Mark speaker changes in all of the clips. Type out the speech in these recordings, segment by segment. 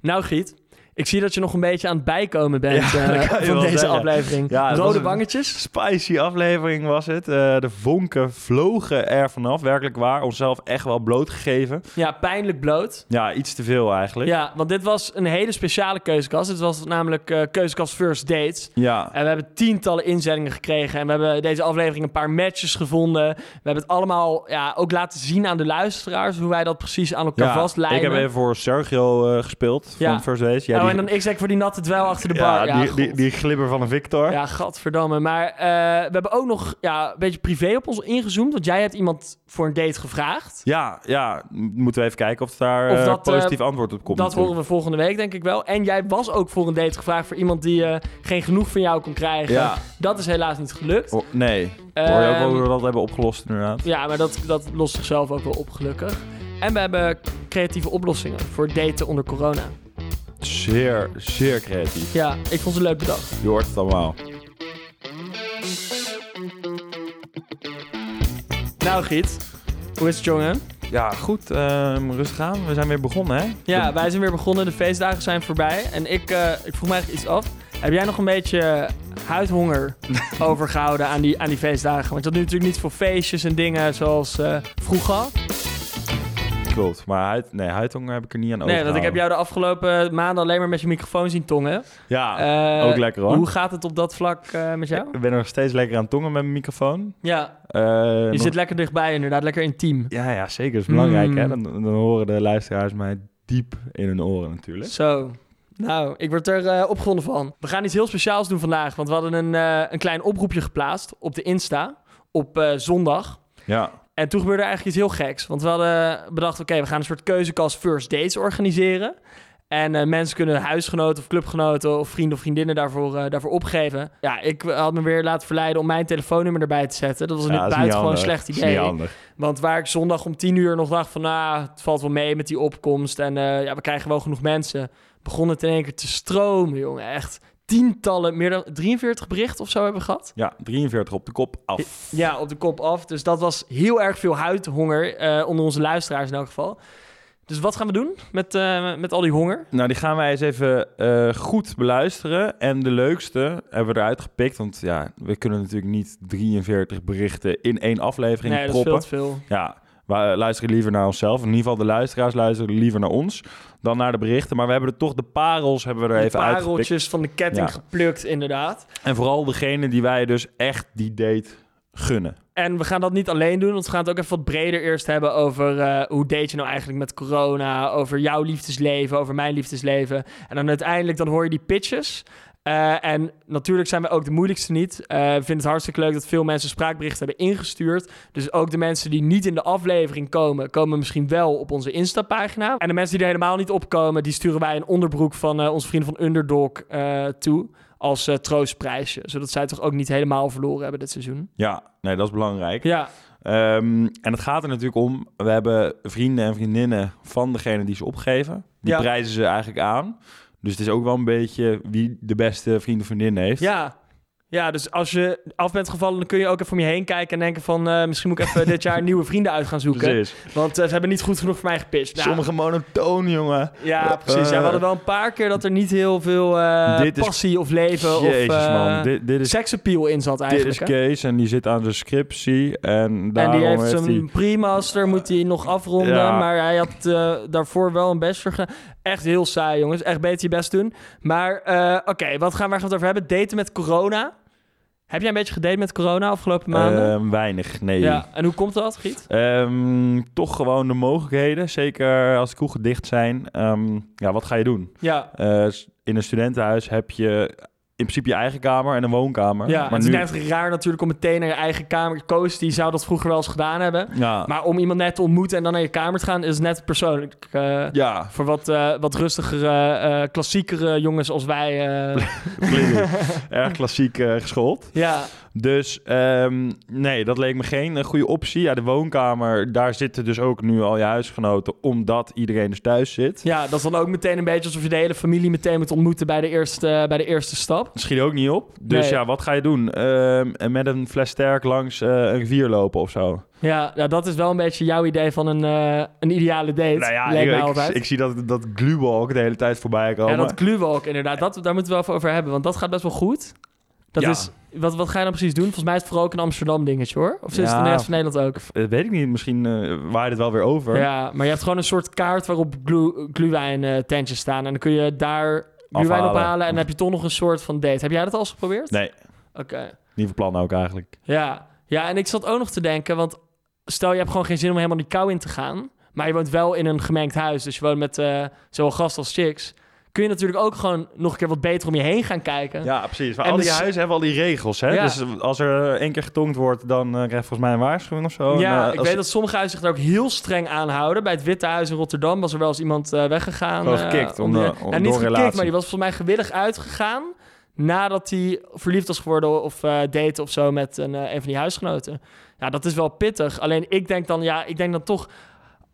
Speaker 1: Nou, Giet, ik zie dat je nog een beetje aan het bijkomen bent
Speaker 2: Ja,
Speaker 1: eh,
Speaker 2: dat kan je
Speaker 1: van
Speaker 2: wel
Speaker 1: deze
Speaker 2: zeggen.
Speaker 1: aflevering.
Speaker 2: Ja, dat was
Speaker 1: Rode
Speaker 2: een-
Speaker 1: wangetjes.
Speaker 2: Spicy aflevering was het. Eh, de vonken vlogen er vanaf, werkelijk waar. Onszelf echt wel blootgegeven.
Speaker 1: Ja, pijnlijk bloot.
Speaker 2: Ja, iets te veel eigenlijk.
Speaker 1: Ja, want dit was een hele speciale keuzekast. Dit was namelijk eh, keuzekast First Dates.
Speaker 2: Ja.
Speaker 1: En we hebben tientallen inzendingen gekregen. En we hebben deze aflevering een paar matches gevonden. We hebben het allemaal ja, ook laten zien aan de luisteraars... hoe wij dat precies aan elkaar
Speaker 2: Ja,
Speaker 1: vastlijmen.
Speaker 2: Ik heb even voor Sergio eh, gespeeld
Speaker 1: Ja.
Speaker 2: van First Days. Ja,
Speaker 1: oh,
Speaker 2: die,
Speaker 1: en dan ik zeg voor die natte dwel achter de
Speaker 2: ja,
Speaker 1: bar. Ja,
Speaker 2: die, die,
Speaker 1: god.
Speaker 2: die glibber van een Victor.
Speaker 1: Ja, gadverdamme. Maar eh, we hebben ook nog ja, een beetje privé op ons ingezoomd. Want jij hebt iemand voor een date gevraagd.
Speaker 2: Ja, ja, m- moeten we even kijken of daar
Speaker 1: Of
Speaker 2: eh,
Speaker 1: dat, eh,
Speaker 2: positief antwoord op komt.
Speaker 1: dat
Speaker 2: natuurlijk.
Speaker 1: horen we volgende week, denk ik wel. En jij was ook voor een date gevraagd voor iemand die eh, geen genoeg van jou kon krijgen.
Speaker 2: Ja.
Speaker 1: Dat is helaas niet gelukt.
Speaker 2: Oh, nee. Hoor je ook wel
Speaker 1: Ehm,
Speaker 2: hoe we dat hebben opgelost inderdaad.
Speaker 1: Ja, maar dat, dat lost zichzelf ook wel op, gelukkig. En we hebben creatieve oplossingen voor daten onder corona.
Speaker 2: Zeer, zeer creatief.
Speaker 1: Ja, ik vond het een leuk bedacht.
Speaker 2: Je hoort het allemaal.
Speaker 1: Nou, Giet, hoe is het, jongen?
Speaker 2: Ja, goed. ehm, rustig aan. We zijn weer begonnen, hè?
Speaker 1: Ja,
Speaker 2: Dat-
Speaker 1: wij zijn weer begonnen. De feestdagen zijn voorbij. En ik, eh, ik vroeg me eigenlijk iets af. Heb jij nog een beetje huidhonger overgehouden aan die, aan die feestdagen? Want dat nu natuurlijk niet voor feestjes en dingen zoals eh, vroeger.
Speaker 2: Klopt. Maar huid, nee, huidhonger heb ik er niet aan
Speaker 1: Nee, want ik heb
Speaker 2: overgehouden.
Speaker 1: jou de afgelopen maanden alleen maar met je microfoon zien tongen.
Speaker 2: Ja,
Speaker 1: Eh,
Speaker 2: ook lekker, hoor.
Speaker 1: Hoe gaat het op dat vlak eh, met jou?
Speaker 2: ik ben nog steeds lekker aan het tongen met mijn microfoon.
Speaker 1: Ja,
Speaker 2: Eh,
Speaker 1: je
Speaker 2: nog-
Speaker 1: zit lekker dichtbij inderdaad, lekker intiem.
Speaker 2: Ja, ja, zeker. Dat is belangrijk,
Speaker 1: Mm.
Speaker 2: hè? Dan, dan horen de luisteraars mij diep in hun oren natuurlijk.
Speaker 1: Zo. Nou, ik word er eh, opgewonden van. We gaan iets heel speciaals doen vandaag, want we hadden een, eh, een klein oproepje geplaatst op de Insta op eh, zondag.
Speaker 2: Ja.
Speaker 1: En toen gebeurde er eigenlijk iets heel geks. Want we hadden bedacht, oké, we gaan een soort keuzekast first dates organiseren. En eh, mensen kunnen huisgenoten of clubgenoten of vrienden of vriendinnen daarvoor, eh, daarvoor opgeven. Ja, ik had me weer laten verleiden om mijn telefoonnummer erbij te zetten. Dat was
Speaker 2: Ja,
Speaker 1: een
Speaker 2: dat is niet
Speaker 1: buitengewoon
Speaker 2: handig.
Speaker 1: slecht
Speaker 2: Dat is
Speaker 1: idee.
Speaker 2: niet handig.
Speaker 1: Want waar ik zondag om 10 uur nog dacht van, nou, het valt wel mee met die opkomst. En eh, ja, we krijgen wel genoeg mensen. Begon het in één keer te stromen, jongen. Echt tientallen, meer dan 43 berichten of zo hebben we gehad.
Speaker 2: Ja, 43 op de kop af.
Speaker 1: Ja, op de kop af. Dus dat was heel erg veel huidhonger eh, onder onze luisteraars in elk geval. Dus wat gaan we doen met, eh, met al die honger?
Speaker 2: Nou, die gaan wij eens even eh, goed beluisteren. En de leukste hebben we eruit gepikt. Want ja, we kunnen natuurlijk niet 43 berichten in één aflevering
Speaker 1: nee, dat is
Speaker 2: proppen.
Speaker 1: veel te veel.
Speaker 2: Ja, we eh, luisteren liever naar onszelf. In ieder geval de luisteraars luisteren liever naar ons dan naar de berichten. Maar we hebben er toch de parels hebben we er
Speaker 1: De
Speaker 2: even uitgepikt.
Speaker 1: pareltjes van de ketting
Speaker 2: Ja.
Speaker 1: geplukt, inderdaad.
Speaker 2: En vooral degene die wij dus echt die date gunnen.
Speaker 1: En we gaan dat niet alleen doen, want we gaan het ook even wat breder eerst hebben over eh, hoe date je nou eigenlijk met corona, over jouw liefdesleven, over mijn liefdesleven. En dan uiteindelijk dan hoor je die pitches. Eh, en natuurlijk zijn we ook de moeilijkste niet. Eh, Ik vind het hartstikke leuk dat veel mensen spraakberichten hebben ingestuurd. Dus ook de mensen die niet in de aflevering komen, komen misschien wel op onze Insta-pagina. En de mensen die er helemaal niet op komen, die sturen wij een onderbroek van eh, onze vrienden van Underdog eh, toe. Als eh, troostprijsje. Zodat zij toch ook niet helemaal verloren hebben dit seizoen.
Speaker 2: Ja, nee, dat is belangrijk.
Speaker 1: Ja,
Speaker 2: Ehm, en het gaat er natuurlijk om, we hebben vrienden en vriendinnen van degene die ze opgeven. Die
Speaker 1: Ja.
Speaker 2: prijzen ze eigenlijk aan. Dus het is ook wel een beetje wie de beste vriend of vriendin heeft.
Speaker 1: Ja. Ja, dus als je af bent gevallen, dan kun je ook even om je heen kijken en denken van... eh, misschien moet ik even dit jaar nieuwe vrienden uit gaan zoeken.
Speaker 2: precies.
Speaker 1: Want eh, ze hebben niet goed genoeg voor mij gepitcht. Nou,
Speaker 2: Sommige monotoon, jongen.
Speaker 1: Ja, precies. Ja, we hadden wel een paar keer dat er niet heel veel eh,
Speaker 2: Dit is-
Speaker 1: passie of leven
Speaker 2: Jezus,
Speaker 1: of eh,
Speaker 2: man. Dit, dit is
Speaker 1: seksappeal in zat
Speaker 2: Dit is
Speaker 1: eigenlijk. hè?
Speaker 2: Kees en die zit aan zijn scriptie. En
Speaker 1: en
Speaker 2: daarom
Speaker 1: die heeft
Speaker 2: heeft
Speaker 1: zijn
Speaker 2: hij...
Speaker 1: pre-master, moet hij nog afronden.
Speaker 2: Ja.
Speaker 1: Maar hij had eh, daarvoor wel een bachelor gedaan. Echt heel saai, jongens. Echt beter je best doen. Maar eh, oké, wat gaan we waar gaan we het over hebben? Daten met corona. Heb jij een beetje gedate met corona afgelopen maanden?
Speaker 2: Ehm, weinig, nee.
Speaker 1: Ja, en hoe komt dat, Giet?
Speaker 2: Ehm, toch gewoon de mogelijkheden. Zeker als de kroegen dicht zijn. Ehm, ja, wat ga je doen?
Speaker 1: Ja,
Speaker 2: Eh, s- in een studentenhuis heb je in principe je eigen kamer en een woonkamer.
Speaker 1: ja.
Speaker 2: maar
Speaker 1: het is
Speaker 2: nu...
Speaker 1: net raar natuurlijk om meteen naar je eigen kamer... Koos, die zou dat vroeger wel eens gedaan hebben.
Speaker 2: Ja,
Speaker 1: Maar om iemand net te ontmoeten en dan naar je kamer te gaan... is net persoonlijk. eh,
Speaker 2: ja.
Speaker 1: Voor wat, eh, wat rustigere, eh, klassiekere jongens als wij. eh,
Speaker 2: klinkt erg klassiek eh geschoold.
Speaker 1: ja,
Speaker 2: Dus ehm, nee, dat leek me geen eh, goede optie. Ja, de woonkamer, daar zitten dus ook nu al je huisgenoten, omdat iedereen dus thuis zit.
Speaker 1: Ja, dat is dan ook meteen een beetje alsof je de hele familie meteen moet ontmoeten bij de eerste, eh, bij de eerste stap.
Speaker 2: Dat schiet ook niet op. Dus
Speaker 1: Nee.
Speaker 2: ja, wat ga je doen? Ehm, en met een fles sterk langs eh, een rivier lopen of zo?
Speaker 1: Ja, nou, dat is wel een beetje jouw idee van een, eh, een ideale date.
Speaker 2: nou ja,
Speaker 1: lijkt mij
Speaker 2: ik- ik,
Speaker 1: altijd.
Speaker 2: ik zie dat, dat gluwalk de hele tijd voorbij komen.
Speaker 1: ja, dat kluwalk inderdaad. Dat, daar moeten we wel even over hebben, want dat gaat best wel goed. Dat
Speaker 2: Ja.
Speaker 1: is, wat, wat ga je dan precies doen? Volgens mij is het vooral ook een Amsterdam dingetje hoor. Of is het in de
Speaker 2: Ja.
Speaker 1: rest van Nederland ook?
Speaker 2: Eh, weet ik niet, misschien eh waait het wel weer over.
Speaker 1: Ja, maar je hebt gewoon een soort kaart waarop glu- gluwijn eh, tentjes staan. En dan kun je daar gluwijn
Speaker 2: Afhalen.
Speaker 1: ophalen en dan heb je toch nog een soort van date. Heb jij dat al eens geprobeerd?
Speaker 2: Nee.
Speaker 1: Oké.
Speaker 2: Niet van plan ook eigenlijk.
Speaker 1: Ja. ja, en ik zat ook nog te denken, want stel je hebt gewoon geen zin om helemaal die kou in te gaan. Maar je woont wel in een gemengd huis, dus je woont met eh, zowel gast als chicks. Kun je natuurlijk ook gewoon nog een keer wat beter om je heen gaan kijken.
Speaker 2: Ja, precies. Maar
Speaker 1: En
Speaker 2: al die
Speaker 1: dus-
Speaker 2: huizen hebben al die regels, hè?
Speaker 1: Ja.
Speaker 2: Dus als er eh, één keer getongd wordt, dan eh, krijg je volgens mij een waarschuwing of zo.
Speaker 1: ja,
Speaker 2: En, eh,
Speaker 1: ik
Speaker 2: als-
Speaker 1: weet dat sommige huizen zich daar ook heel streng aan houden. Bij het Witte Huis in Rotterdam was er wel eens iemand eh, weggegaan.
Speaker 2: Gewoon
Speaker 1: eh,
Speaker 2: gekikt om
Speaker 1: die-
Speaker 2: de- om-
Speaker 1: nou,
Speaker 2: door
Speaker 1: niet
Speaker 2: een
Speaker 1: gekikt,
Speaker 2: relatie.
Speaker 1: maar die was volgens mij gewillig uitgegaan... nadat hij verliefd was geworden of eh date of zo met een, eh, een van die huisgenoten. Ja, dat is wel pittig. Alleen ik denk dan, ja, ik denk dan toch...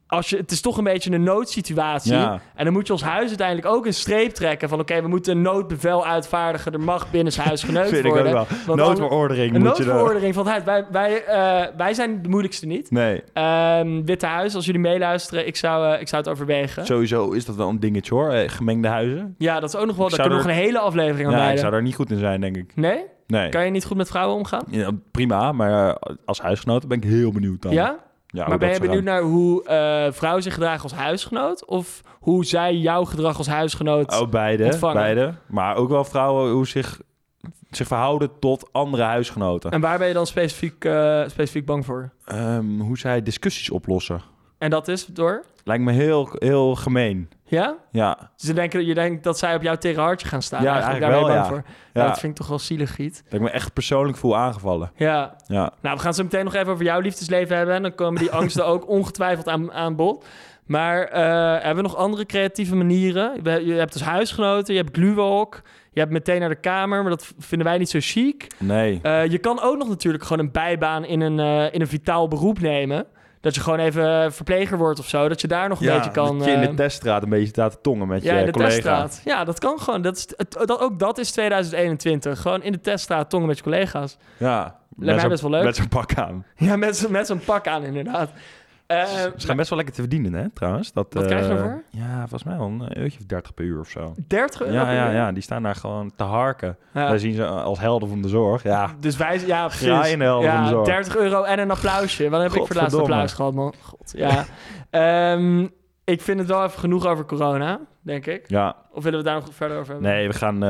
Speaker 1: Als je, het is toch een beetje een noodsituatie.
Speaker 2: Ja.
Speaker 1: En dan moet je als huis uiteindelijk ook een streep trekken... van oké, we moeten een noodbevel uitvaardigen. Er mag binnen zijn huis geneukt
Speaker 2: Vind ik ook
Speaker 1: worden.
Speaker 2: wel.
Speaker 1: Want
Speaker 2: Noodverordening
Speaker 1: Een
Speaker 2: moet je er...
Speaker 1: noodverordening van het huis. Wij, wij, eh, wij zijn de moeilijkste niet.
Speaker 2: Nee,
Speaker 1: Ehm, Witte Huis, als jullie meeluisteren, ik zou, eh, ik zou het overwegen.
Speaker 2: sowieso is dat wel een dingetje hoor. Eh, gemengde huizen.
Speaker 1: Ja, dat is ook nog wel.
Speaker 2: Ik
Speaker 1: Daar
Speaker 2: zou
Speaker 1: kunnen we nog een hele aflevering aan
Speaker 2: Ja, ik
Speaker 1: wijden.
Speaker 2: zou daar niet goed in zijn, denk ik.
Speaker 1: Nee?
Speaker 2: Nee.
Speaker 1: Kan je niet goed met vrouwen omgaan?
Speaker 2: Ja, prima, maar eh, als huisgenoot ben ik heel benieuwd dan.
Speaker 1: Ja?
Speaker 2: Ja, hoe
Speaker 1: maar ben
Speaker 2: dat
Speaker 1: je
Speaker 2: zou
Speaker 1: benieuwd
Speaker 2: gaan.
Speaker 1: naar hoe eh, vrouwen zich gedragen als huisgenoot? Of hoe zij jouw gedrag als huisgenoot...
Speaker 2: Oh, beide,
Speaker 1: ontvangen?
Speaker 2: beide. Maar ook wel vrouwen hoe zich, zich verhouden tot andere huisgenoten.
Speaker 1: En waar ben je dan specifiek, eh, specifiek bang voor?
Speaker 2: Ehm, hoe zij discussies oplossen.
Speaker 1: En dat is door?
Speaker 2: Lijkt me heel, heel gemeen.
Speaker 1: Ja?
Speaker 2: Ja,
Speaker 1: Dus je denkt, je denkt dat zij op jouw tegenhartje gaan staan.
Speaker 2: Ja,
Speaker 1: eigenlijk,
Speaker 2: eigenlijk
Speaker 1: daar ben je
Speaker 2: wel,
Speaker 1: bang voor. Ja,
Speaker 2: ja.
Speaker 1: dat vind ik toch wel zielig, Giet.
Speaker 2: dat ik me echt persoonlijk voel aangevallen.
Speaker 1: Ja,
Speaker 2: Ja.
Speaker 1: Nou, we gaan het zo meteen nog even over jouw liefdesleven hebben. En dan komen die angsten ook ongetwijfeld aan, aan bod. Maar eh, hebben we nog andere creatieve manieren? Je hebt- Je hebt dus huisgenoten, je hebt gluwalk. Je hebt meteen naar de kamer, maar dat v- vinden wij niet zo chic.
Speaker 2: Nee.
Speaker 1: Eh, je kan ook nog natuurlijk gewoon een bijbaan in een, eh, in een vitaal beroep nemen. Dat je gewoon even verpleger wordt of zo. Dat je daar nog een beetje kan...
Speaker 2: dat je in de
Speaker 1: eh,
Speaker 2: teststraat een beetje staat te tongen met
Speaker 1: ja,
Speaker 2: je
Speaker 1: in de
Speaker 2: collega.
Speaker 1: teststraat. Ja, dat kan gewoon. Dat is, het- dat, ook dat is 2021. Gewoon in de teststraat tongen met je collega's.
Speaker 2: Ja.
Speaker 1: mij
Speaker 2: zo'n-
Speaker 1: best wel leuk.
Speaker 2: Met zo'n pak aan.
Speaker 1: Ja, met, zo'n- met zo'n pak aan inderdaad. Eh,
Speaker 2: Ze gaan best wel lekker te verdienen, hè, trouwens. Dat,
Speaker 1: Wat krijg je
Speaker 2: eh,
Speaker 1: ervoor?
Speaker 2: Ja, volgens mij wel een eurotje of 30 per uur of zo.
Speaker 1: 30 euro
Speaker 2: Ja,
Speaker 1: per
Speaker 2: ja,
Speaker 1: uur?
Speaker 2: ja, die staan daar gewoon te harken.
Speaker 1: Ja.
Speaker 2: Wij zien ze als helden van de zorg. Ja,
Speaker 1: Dus wij... Ja, precies.
Speaker 2: Graaiende helft van de
Speaker 1: ja,
Speaker 2: zorg.
Speaker 1: 30 euro en een applausje. Wat heb ik voor het laatste
Speaker 2: Godverdomme.
Speaker 1: applaus gehad, man? God, ja. Ehm, ik vind het wel even genoeg over corona, denk ik.
Speaker 2: ja.
Speaker 1: Of willen we het daar nog verder over hebben?
Speaker 2: nee, we gaan, eh,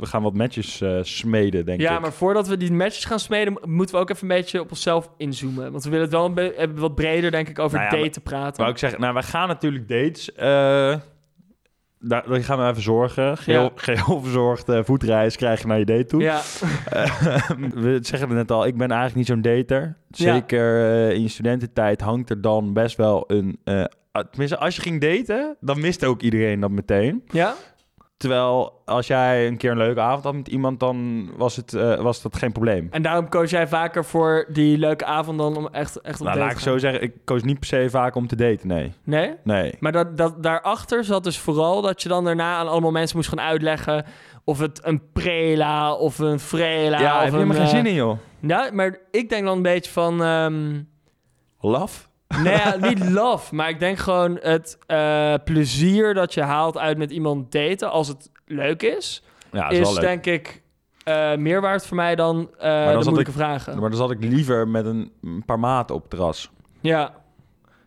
Speaker 2: we gaan wat matches eh, smeden, denk
Speaker 1: Ja,
Speaker 2: ik.
Speaker 1: maar voordat we die matches gaan smeden... mo- moeten we ook even een beetje op onszelf inzoomen. Want we willen het wel een be- eh, wat breder, denk ik, over
Speaker 2: Nou ja,
Speaker 1: daten
Speaker 2: maar-
Speaker 1: praten.
Speaker 2: Wou ik zeggen, nou, wij gaan natuurlijk dates. eh daar, daar gaan we even zorgen. Geel,
Speaker 1: Ja.
Speaker 2: geel verzorgd eh, voetreis krijg je naar je date toe.
Speaker 1: Ja,
Speaker 2: Eh, we zeggen het net al, ik ben eigenlijk niet zo'n dater.
Speaker 1: Ja.
Speaker 2: Zeker eh, in je studententijd hangt er dan best wel een... eh, ah, tenminste, als je ging daten, dan miste ook iedereen dat meteen.
Speaker 1: ja?
Speaker 2: Terwijl als jij een keer een leuke avond had met iemand, dan was, het, eh, was dat geen probleem.
Speaker 1: En daarom koos jij vaker voor die leuke avond dan om echt, echt op date
Speaker 2: Nou, laat ik
Speaker 1: te
Speaker 2: zo
Speaker 1: gaan?
Speaker 2: zeggen, ik koos niet per se vaak om te daten, nee.
Speaker 1: Nee?
Speaker 2: Nee.
Speaker 1: Maar dat, dat, daarachter zat dus vooral dat je dan daarna aan allemaal mensen moest gaan uitleggen of het een prela of een frela.
Speaker 2: ja,
Speaker 1: of
Speaker 2: heb je helemaal geen zin in, joh.
Speaker 1: Nou, maar ik denk dan een beetje van, ehm,
Speaker 2: Laf?
Speaker 1: nee, ja, niet love, maar ik denk gewoon het eh, plezier dat je haalt uit met iemand daten, als het leuk is,
Speaker 2: Ja, dat
Speaker 1: is,
Speaker 2: is, wel leuk.
Speaker 1: denk ik eh, meer waard voor mij dan eh,
Speaker 2: dan
Speaker 1: de
Speaker 2: zat
Speaker 1: moeilijke vragen.
Speaker 2: Maar dan zat ik liever met een een paar maten op het terras.
Speaker 1: Ja.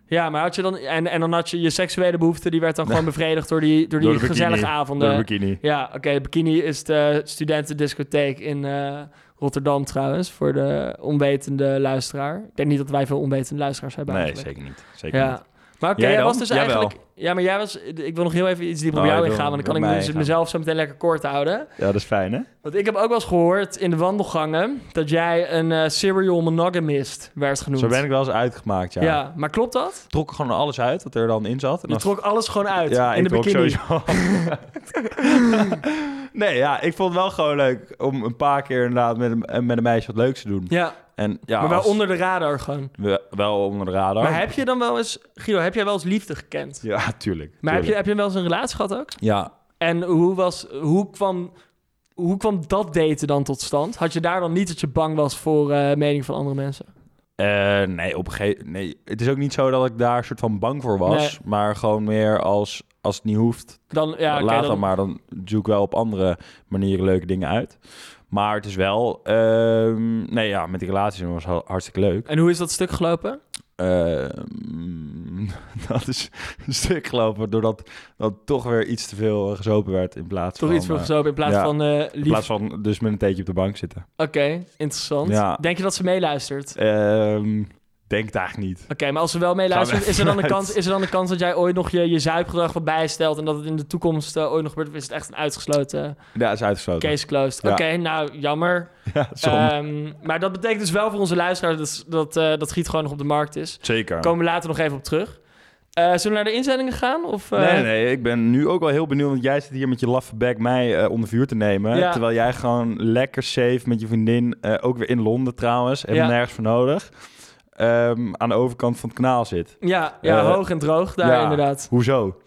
Speaker 1: Ja, maar had je dan, en, en dan had je je seksuele behoefte, die werd dan gewoon bevredigd door die, door die
Speaker 2: Door de bikini.
Speaker 1: gezellige avonden.
Speaker 2: Door de bikini.
Speaker 1: Ja, oké. de bikini is de studentendiscotheek in eh, Rotterdam trouwens. Voor de onwetende luisteraar. Ik denk niet dat wij veel onwetende luisteraars hebben
Speaker 2: Nee,
Speaker 1: eigenlijk.
Speaker 2: zeker niet. Zeker
Speaker 1: ja.
Speaker 2: niet.
Speaker 1: Maar oké,
Speaker 2: Jij
Speaker 1: jij
Speaker 2: dan?
Speaker 1: was dus
Speaker 2: Jij
Speaker 1: eigenlijk... Ja, maar jij was... Ik wil nog heel even iets dieper op
Speaker 2: Oh,
Speaker 1: jou
Speaker 2: ik wil
Speaker 1: ingaan... want dan
Speaker 2: op
Speaker 1: kan
Speaker 2: mij
Speaker 1: ik dus
Speaker 2: gaan.
Speaker 1: mezelf zo meteen lekker kort houden.
Speaker 2: Ja, dat is fijn, hè?
Speaker 1: Want ik heb ook wel eens gehoord in de wandelgangen... dat jij een eh, serial monogamist werd genoemd.
Speaker 2: Zo ben ik wel eens uitgemaakt, ja.
Speaker 1: Ja. maar klopt dat?
Speaker 2: Trok ik gewoon alles uit wat er dan in zat. En
Speaker 1: Je
Speaker 2: dan
Speaker 1: trok alles gewoon uit
Speaker 2: ja,
Speaker 1: in de
Speaker 2: ik trok
Speaker 1: bikini.
Speaker 2: sowieso. Nee, ja, ik vond het wel gewoon leuk om een paar keer inderdaad met een, met een meisje wat leuks te doen.
Speaker 1: Ja,
Speaker 2: En ja,
Speaker 1: maar wel
Speaker 2: als-
Speaker 1: onder de radar gewoon.
Speaker 2: we- wel onder de radar.
Speaker 1: Maar heb je dan wel eens, Guido, heb jij wel eens liefde gekend?
Speaker 2: Ja, tuurlijk.
Speaker 1: Maar heb je,
Speaker 2: tuurlijk.
Speaker 1: heb je wel eens een relatie gehad ook?
Speaker 2: Ja,
Speaker 1: En hoe, was, hoe, kwam, hoe kwam dat daten dan tot stand? Had je daar dan niet dat je bang was voor eh mening van andere mensen?
Speaker 2: Eh, nee, op een gegeven Nee, het is ook niet zo dat ik daar soort van bang voor was. Maar gewoon meer als, als het niet hoeft,
Speaker 1: Dan, ja, oké,
Speaker 2: laat dan...
Speaker 1: dan-
Speaker 2: maar. Dan zoek ik wel op andere manieren leuke dingen uit. Maar het is wel... ehm, nee, ja, met die relaties was het hartstikke leuk.
Speaker 1: En hoe is dat stuk gelopen?
Speaker 2: Ehm, dat is een stuk gelopen doordat dat toch weer iets te veel eh, gezopen werd in plaats
Speaker 1: Toch
Speaker 2: van...
Speaker 1: iets voor
Speaker 2: eh,
Speaker 1: gezopen in plaats
Speaker 2: ja.
Speaker 1: van eh
Speaker 2: in
Speaker 1: lief.
Speaker 2: plaats van dus met een theetje op de bank zitten.
Speaker 1: Oké, interessant.
Speaker 2: Ja.
Speaker 1: Denk je dat ze meeluistert? Oké,
Speaker 2: Ehm, denk het eigenlijk niet.
Speaker 1: maar als ze wel meeluistert,
Speaker 2: Gaan we
Speaker 1: is er, dan een
Speaker 2: vanuit.
Speaker 1: kans, is er dan een kans dat jij ooit nog je, je zuipgedrag wat bijstelt en dat het in de toekomst eh, ooit nog gebeurt? Of is het echt een uitgesloten
Speaker 2: Ja, is uitgesloten.
Speaker 1: case closed?
Speaker 2: Ja.
Speaker 1: Oké, nou jammer.
Speaker 2: Ja, zonde.
Speaker 1: Ehm, maar dat betekent dus wel voor onze luisteraars dat, dat, eh, dat Giet gewoon nog op de markt is.
Speaker 2: Zeker.
Speaker 1: Komen we later nog even op terug. Eh, zullen we naar de inzendingen gaan? Of, eh,
Speaker 2: Nee, nee, ik ben nu ook wel heel benieuwd, want jij zit hier met je laffe bek mij eh, onder vuur te nemen.
Speaker 1: Ja.
Speaker 2: Terwijl jij gewoon lekker safe met je vriendin, eh, ook weer in Londen trouwens, helemaal
Speaker 1: Ja.
Speaker 2: nergens voor nodig, ehm, aan de overkant van het kanaal zit.
Speaker 1: Ja, ja
Speaker 2: Eh,
Speaker 1: hoog en droog daar
Speaker 2: ja.
Speaker 1: inderdaad.
Speaker 2: Hoezo?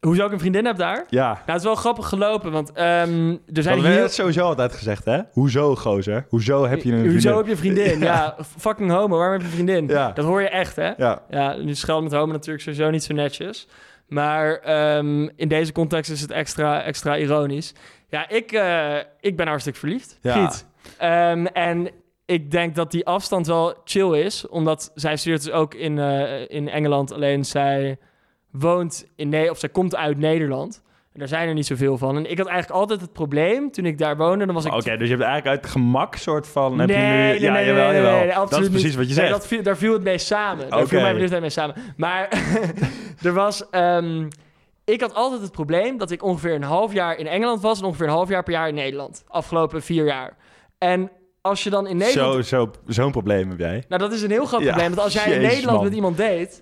Speaker 1: Hoezo ik een vriendin heb daar?
Speaker 2: Ja,
Speaker 1: Nou, het is wel grappig gelopen, want ehm, er
Speaker 2: dat
Speaker 1: zijn
Speaker 2: werd
Speaker 1: heel...
Speaker 2: sowieso altijd gezegd, hè? Hoezo, gozer? Hoezo heb je een vriendin?
Speaker 1: Hoezo heb je een vriendin? Ja. fucking homo, waarom heb je een vriendin?
Speaker 2: Ja.
Speaker 1: Dat hoor je echt, hè?
Speaker 2: Ja,
Speaker 1: Ja, nu schelden met homo natuurlijk sowieso niet zo netjes. Maar ehm, in deze context is het extra, extra ironisch. Ja, ik, eh, ik ben hartstikke verliefd.
Speaker 2: Ja.
Speaker 1: Giet. Ehm, en ik denk dat die afstand wel chill is. Omdat zij studeert dus ook in, eh, in Engeland. Alleen zij woont in Nederland, of zij komt uit Nederland. En daar zijn er niet zoveel van. En ik had eigenlijk altijd het probleem, toen ik daar woonde, dan was ik
Speaker 2: oké, dus je hebt eigenlijk uit gemak soort van... heb je
Speaker 1: Nee,
Speaker 2: nu-
Speaker 1: nee,
Speaker 2: ja,
Speaker 1: nee,
Speaker 2: jawel,
Speaker 1: nee,
Speaker 2: jawel.
Speaker 1: nee, nee,
Speaker 2: dat is
Speaker 1: absoluut
Speaker 2: precies
Speaker 1: niet.
Speaker 2: wat je
Speaker 1: Nee,
Speaker 2: zegt.
Speaker 1: dat viel, daar viel het mee samen. Daar viel
Speaker 2: Oké.
Speaker 1: mijn verliefdheid mee samen. Maar er was... ehm, ik had altijd het probleem dat ik ongeveer een half jaar in Engeland was... en ongeveer een half jaar per jaar in Nederland. Afgelopen vier jaar. En als je dan in Nederland...
Speaker 2: Zo, zo, zo'n probleem heb jij.
Speaker 1: Nou, dat is een heel groot
Speaker 2: Ja,
Speaker 1: probleem. Want als jij in
Speaker 2: jezus,
Speaker 1: Nederland
Speaker 2: man.
Speaker 1: met iemand date...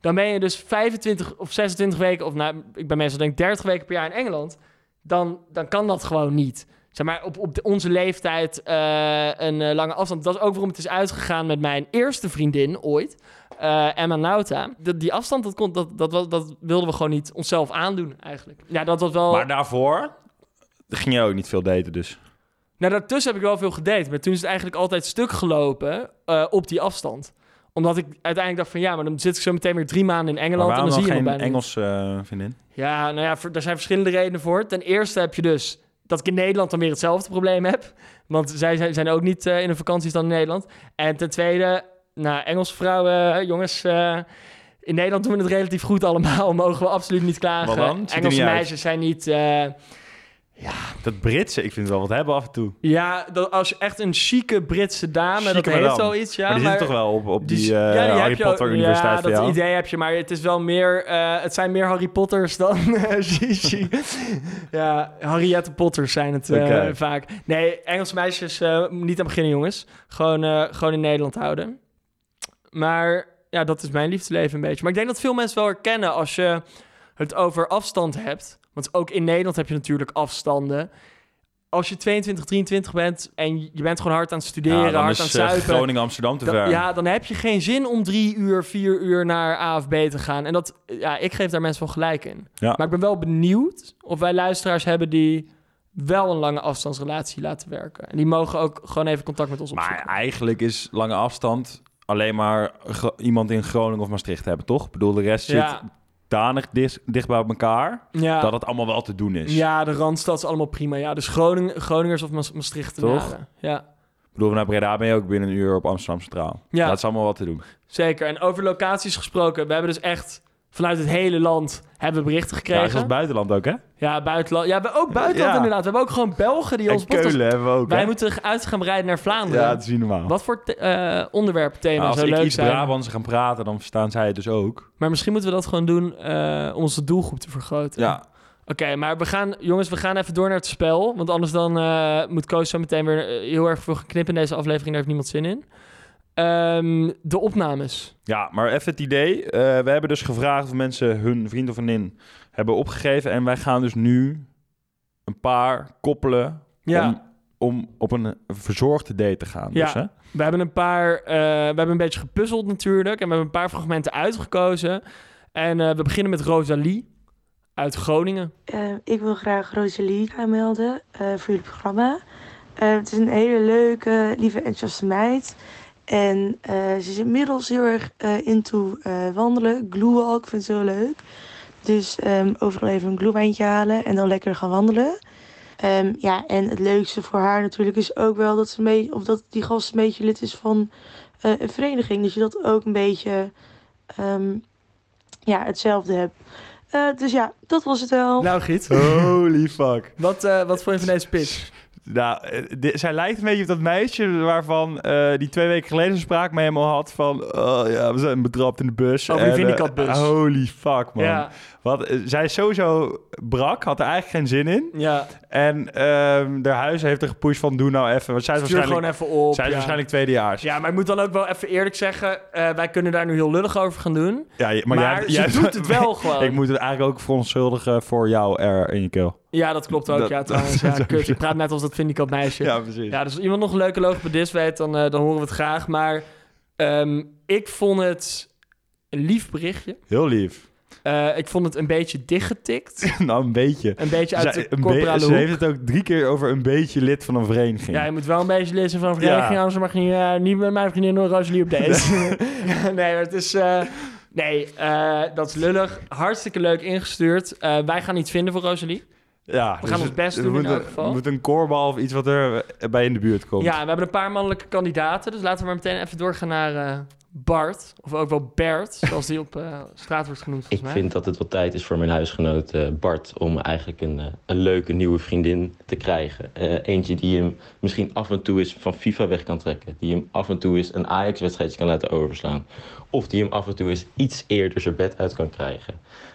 Speaker 1: dan ben je dus 25 of 26 weken... of nou, ik ben meestal denk ik 30 weken per jaar in Engeland... dan, dan kan dat gewoon niet. Zeg maar, op, op de- onze leeftijd eh, een eh, lange afstand. Dat is ook waarom het is uitgegaan met mijn eerste vriendin ooit... eh, Emma Nauta. De- die afstand, dat, kon, dat, dat, dat, dat wilden we gewoon niet onszelf aandoen eigenlijk. Ja, dat was wel...
Speaker 2: Maar daarvoor ging je ook niet veel daten dus.
Speaker 1: Nou, daartussen heb ik wel veel gedate. Maar toen is het eigenlijk altijd stuk gelopen eh, op die afstand. Omdat ik uiteindelijk dacht van... Ja, maar dan zit ik zo meteen weer drie maanden in
Speaker 2: Maar
Speaker 1: Engeland... en
Speaker 2: waarom
Speaker 1: dan zie
Speaker 2: dan
Speaker 1: je me
Speaker 2: geen
Speaker 1: bijna niet.
Speaker 2: Engels eh, vriendin?
Speaker 1: Ja, nou ja, voor- daar zijn verschillende redenen voor. Ten eerste heb je dus dat ik in Nederland dan weer hetzelfde probleem heb. Want zij zijn, zijn ook niet eh, in hun vakanties dan in Nederland. En ten tweede, nou, Engelse vrouwen, jongens... eh, in Nederland doen we het relatief goed allemaal. Mogen we absoluut niet klagen.
Speaker 2: Wat dan? Ziet er
Speaker 1: Engelse
Speaker 2: niet uit.
Speaker 1: meisjes zijn niet... eh,
Speaker 2: Dat Britse, ik vind het wel wat hebben af en toe.
Speaker 1: ja, dat, als je echt een chique Britse dame...
Speaker 2: Chique
Speaker 1: dat heeft
Speaker 2: madame.
Speaker 1: wel iets, ja.
Speaker 2: maar die
Speaker 1: maar-
Speaker 2: zitten toch wel op, op die,
Speaker 1: s-
Speaker 2: eh,
Speaker 1: Dus ja, die
Speaker 2: Harry
Speaker 1: heb je
Speaker 2: Potter
Speaker 1: ook-
Speaker 2: Universiteit
Speaker 1: Ja,
Speaker 2: van
Speaker 1: dat
Speaker 2: jou?
Speaker 1: idee heb je, maar het is wel meer... eh, het zijn meer Harry Potters dan eh, Gigi. ja, Harriette Potters zijn het eh,
Speaker 2: Oké.
Speaker 1: vaak. Nee, Engelse meisjes, eh, niet aan beginnen jongens. Gewoon, eh, gewoon in Nederland houden. Maar ja, dat is mijn liefdesleven een beetje. Maar ik denk dat veel mensen wel herkennen als je het over afstand hebt. Want ook in Nederland heb je natuurlijk afstanden. Als je 22, 23 bent en je bent gewoon hard aan het
Speaker 2: Ja,
Speaker 1: studeren,
Speaker 2: dan
Speaker 1: hard
Speaker 2: is,
Speaker 1: aan het
Speaker 2: eh,
Speaker 1: zuipen.
Speaker 2: Groningen-Amsterdam te
Speaker 1: Da-
Speaker 2: ver.
Speaker 1: ja, dan heb je geen zin om drie uur, vier uur naar A of B te gaan. En dat, ja, ik geef daar mensen wel gelijk in.
Speaker 2: Ja.
Speaker 1: Maar ik ben wel benieuwd of wij luisteraars hebben die wel een lange afstandsrelatie laten werken. En die mogen ook gewoon even contact met ons opzoeken.
Speaker 2: Maar eigenlijk is lange afstand alleen maar ge- iemand in Groningen of Maastricht hebben, toch? Ik bedoel, de rest
Speaker 1: ja,
Speaker 2: zit danig dis- dicht bij elkaar
Speaker 1: ja,
Speaker 2: dat het allemaal wel te doen is.
Speaker 1: ja, de Randstad is allemaal prima. Ja, dus Groningen, Groningers of Maas- Maastrichtenaren.
Speaker 2: Toch?
Speaker 1: Ja.
Speaker 2: Ik bedoel, naar Breda ben je ook binnen een uur op Amsterdam Centraal.
Speaker 1: Ja.
Speaker 2: Dat is allemaal wat te doen.
Speaker 1: Zeker. En over locaties gesproken. We hebben dus echt vanuit het hele land hebben we berichten
Speaker 2: Ja, dat is
Speaker 1: gekregen.
Speaker 2: als
Speaker 1: Ja,
Speaker 2: buitenland ook, hè?
Speaker 1: buitenland. Ja, we ook buitenland
Speaker 2: Ja.
Speaker 1: inderdaad. We hebben ook gewoon Belgen die ons
Speaker 2: en
Speaker 1: podcast-
Speaker 2: Keulen hebben we ook,
Speaker 1: Wij
Speaker 2: hè?
Speaker 1: moeten uit gaan rijden naar Vlaanderen.
Speaker 2: Ja, het is niet normaal.
Speaker 1: Wat voor te- eh, onderwerpen, thema's
Speaker 2: Nou, als
Speaker 1: zou
Speaker 2: ik
Speaker 1: leuk
Speaker 2: iets
Speaker 1: zijn?
Speaker 2: Brabants gaan praten, dan verstaan zij het dus ook.
Speaker 1: Maar misschien moeten we dat gewoon doen eh, om onze doelgroep te vergroten.
Speaker 2: Ja,
Speaker 1: Oké, maar we gaan, jongens, we gaan even door naar het spel. Want anders dan eh, moet Koos zo meteen weer eh, heel erg veel gaan knippen in deze aflevering. Daar heeft niemand zin in. Ehm, de opnames.
Speaker 2: Ja, maar even het idee. Eh, we hebben dus gevraagd of mensen hun vriend of vriendin hebben opgegeven. En wij gaan dus nu een paar koppelen
Speaker 1: Ja.
Speaker 2: om, om op een verzorgde date te gaan.
Speaker 1: Ja.
Speaker 2: Dus, hè?
Speaker 1: We hebben een paar, eh, we hebben een beetje gepuzzeld natuurlijk. En we hebben een paar fragmenten uitgekozen. En eh, we beginnen met Rosalie uit Groningen.
Speaker 3: Eh, ik wil graag Rosalie aanmelden eh, voor jullie programma. Eh, het is een hele leuke, lieve, enthousiaste meid. En eh, ze is inmiddels heel erg eh into eh, wandelen. Glühwalk vindt ze heel leuk. Dus ehm, overal even een glühwijntje halen en dan lekker gaan wandelen. Ehm, ja, en het leukste voor haar natuurlijk is ook wel dat, ze een beetje, of dat die gast een beetje lid is van eh, een vereniging. Dus je dat ook een beetje ehm, ja, hetzelfde hebt. Eh, dus ja, dat was het wel.
Speaker 1: Nou, Giet.
Speaker 2: Oh. Holy fuck.
Speaker 1: Wat, eh, wat vond je van deze pitch?
Speaker 2: Nou, eh, di- zij lijkt een beetje op dat meisje waarvan eh, die twee weken geleden een spraak met hem al had van... Oh ja, we zijn betrapt in de bus.
Speaker 1: Over die
Speaker 2: En, eh,
Speaker 1: Vindicatbus.
Speaker 2: holy fuck, man.
Speaker 1: Ja,
Speaker 2: Wat, eh, zij is sowieso brak, had er eigenlijk geen zin in.
Speaker 1: ja.
Speaker 2: En ehm haar huis heeft er gepusht van doe nou even. Want zij is
Speaker 1: stuur
Speaker 2: waarschijnlijk,
Speaker 1: gewoon even op.
Speaker 2: zij is
Speaker 1: ja.
Speaker 2: waarschijnlijk tweedejaars. Ja,
Speaker 1: Ja, maar ik moet dan ook wel even eerlijk zeggen, eh, wij kunnen daar nu heel lullig over gaan doen.
Speaker 2: je-
Speaker 1: Maar,
Speaker 2: maar jij,
Speaker 1: ze
Speaker 2: jij-
Speaker 1: doet het wel gewoon.
Speaker 2: Ik moet het eigenlijk ook verontschuldigen voor jou er in je keel.
Speaker 1: Ja, dat klopt ook.
Speaker 2: Dat-
Speaker 1: ja,
Speaker 2: dat-
Speaker 1: trouwens.
Speaker 2: dat-
Speaker 1: ja, kut, ik praat net als dat Vindicat meisje.
Speaker 2: precies.
Speaker 1: Ja, dus als iemand nog een leuke logopedist weet, dan, eh, dan horen we het graag. Maar ehm, ik vond het een lief berichtje.
Speaker 2: Heel lief.
Speaker 1: Eh, ik vond het een beetje dichtgetikt.
Speaker 2: nou, een beetje.
Speaker 1: Een beetje uit
Speaker 2: Zij-
Speaker 1: de
Speaker 2: een be-
Speaker 1: corporale
Speaker 2: ze heeft
Speaker 1: hoek.
Speaker 2: het ook drie keer over een beetje lid van een vereniging.
Speaker 1: Ja, je moet wel een beetje lezen van
Speaker 2: Ja.
Speaker 1: vereniging, anders mag je niet, eh, niet met mijn vriendin door Rosalie op deze. nee, maar het is... eh, nee, eh, dat is lullig. Hartstikke leuk ingestuurd. Eh, wij gaan iets vinden voor Rosalie.
Speaker 2: Ja, dus
Speaker 1: We gaan ons best doen
Speaker 2: we
Speaker 1: in
Speaker 2: moeten-
Speaker 1: elk geval.
Speaker 2: We moeten een korbal of iets wat er eh, bij in de buurt komt.
Speaker 1: Ja, en we hebben een paar mannelijke kandidaten. Dus laten we maar meteen even doorgaan naar eh, Bart. Of ook wel Bert, zoals die op eh, straat wordt genoemd
Speaker 4: Ik
Speaker 1: volgens mij.
Speaker 4: vind dat het wel tijd is voor mijn huisgenoot eh, Bart om eigenlijk een, eh, een leuke nieuwe vriendin te krijgen. Eh, eentje die hem misschien af en toe eens van FIFA weg kan trekken. Die hem af en toe eens een Ajax-wedstrijdje kan laten overslaan. Of die hem af en toe eens iets eerder zijn bed uit kan krijgen.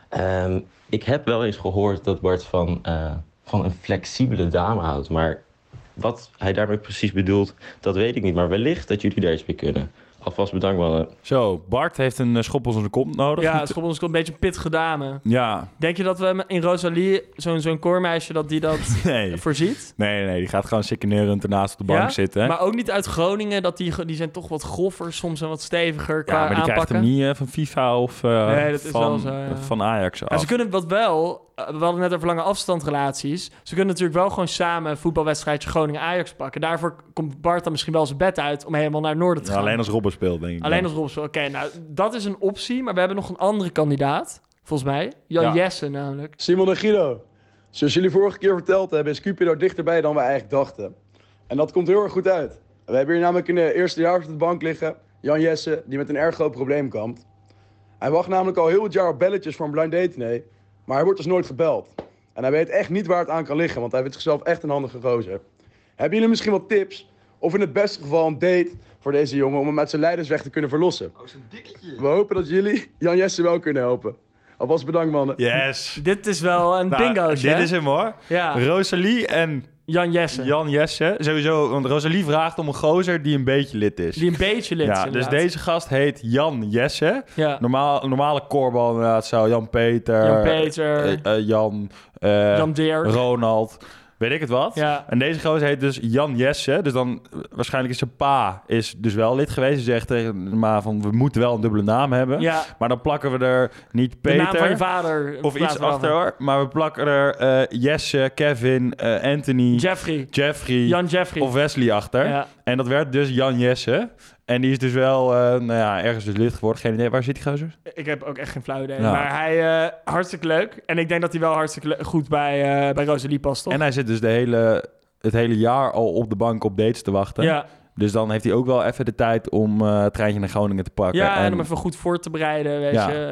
Speaker 4: Ehm, ik heb wel eens gehoord dat Bart van, eh, van een flexibele dame houdt. Maar wat hij daarmee precies bedoelt, dat weet ik niet. Maar wellicht dat jullie daar iets mee kunnen. Alvast bedankt mannen.
Speaker 2: Zo, Bart heeft een eh, schop onder zijn kont nodig.
Speaker 1: Ja, Schobbel is een beetje een pittige dame.
Speaker 2: Ja,
Speaker 1: Denk je dat we in Rosalie, zo'n zo'n koormeisje, dat die dat
Speaker 2: nee.
Speaker 1: voorziet?
Speaker 2: Nee, nee, die gaat gewoon sikkenerend ernaast op de
Speaker 1: Ja?
Speaker 2: bank zitten.
Speaker 1: Maar ook niet uit Groningen, dat die, die zijn toch wat groffer soms en wat steviger qua
Speaker 2: ja, maar die krijgt
Speaker 1: aanpakken.
Speaker 2: hem niet eh, van FIFA of eh,
Speaker 1: Nee, dat is wel
Speaker 2: van,
Speaker 1: zo, ja.
Speaker 2: van Ajax
Speaker 1: Maar
Speaker 2: af.
Speaker 1: ze kunnen wat wel, eh, we hadden het net over lange afstandrelaties. Ze kunnen natuurlijk wel gewoon samen een voetbalwedstrijdje Groningen-Ajax pakken. Daarvoor komt Bart dan misschien wel zijn bed uit om helemaal naar het noorden te
Speaker 2: Ja,
Speaker 1: gaan.
Speaker 2: alleen als Robben speelt, denk ik.
Speaker 1: Alleen
Speaker 2: dan.
Speaker 1: als Robson. Oké, nou, dat is een optie. Maar we hebben nog een andere kandidaat, volgens mij. Jan
Speaker 2: Ja.
Speaker 1: Jesse namelijk.
Speaker 5: Simon en Guido. Zoals jullie vorige keer verteld hebben, is Cupido dichterbij dan we eigenlijk dachten. En dat komt heel erg goed uit. We hebben hier namelijk in de eerste jaar op de bank liggen Jan Jesse, die met een erg groot probleem kampt. Hij wacht namelijk al heel het jaar op belletjes voor een blind date nee, maar hij wordt dus nooit gebeld. En hij weet echt niet waar het aan kan liggen, want hij vindt zichzelf echt een handige gozer. Hebben jullie misschien wat tips, of in het beste geval een date voor deze jongen om hem uit zijn leidersweg te kunnen verlossen? Oh, zo'n dikketje. We hopen dat jullie Jan Jesse wel kunnen helpen. Alvast bedankt mannen.
Speaker 2: Yes.
Speaker 1: Dit is wel een
Speaker 2: Nou,
Speaker 1: bingo.
Speaker 2: Dit is hem hoor.
Speaker 1: Ja,
Speaker 2: Rosalie en
Speaker 1: Jan Jesse.
Speaker 2: Jan Jesse. Sowieso, want Rosalie vraagt om een gozer die een beetje lid is.
Speaker 1: Die een beetje lid
Speaker 2: ja, dus deze gast heet Jan Jesse.
Speaker 1: Ja.
Speaker 2: Normaal, normale korbal inderdaad zou Jan Peter,
Speaker 1: Jan Peter,
Speaker 2: eh, eh, Jan, eh,
Speaker 1: Jan Deert.
Speaker 2: Ronald, weet ik het wat.
Speaker 1: Ja.
Speaker 2: En deze gozer heet dus Jan Jesse. Dus dan eh, waarschijnlijk is zijn pa is dus wel lid geweest. Hij zegt tegen maar van we moeten wel een dubbele naam hebben.
Speaker 1: Ja,
Speaker 2: Maar dan plakken we er niet
Speaker 1: de naam van je
Speaker 2: Peter
Speaker 1: vader.
Speaker 2: of iets
Speaker 1: Laten we
Speaker 2: achter
Speaker 1: af.
Speaker 2: hoor. Maar we plakken er eh, Jesse, Kevin, eh, Anthony,
Speaker 1: Jeffrey.
Speaker 2: Jeffrey
Speaker 1: Jan Jeffrey.
Speaker 2: of Wesley achter.
Speaker 1: ja.
Speaker 2: En dat werd dus Jan Jesse. En die is dus wel, eh, nou ja, ergens dus lid geworden. Geen idee, waar zit die gozer?
Speaker 1: Ik heb ook echt geen flauw idee.
Speaker 2: Ja.
Speaker 1: Maar hij, eh, hartstikke leuk. En ik denk dat hij wel hartstikke le- goed bij, eh, bij Rosalie past, toch?
Speaker 2: En hij zit dus de hele, het hele jaar al op de bank op dates te wachten.
Speaker 1: ja,
Speaker 2: Dus dan heeft hij ook wel even de tijd om eh, het treintje naar Groningen te pakken.
Speaker 1: ja en,
Speaker 2: en,
Speaker 1: hem even goed voor te bereiden, weet
Speaker 2: Ja.
Speaker 1: je.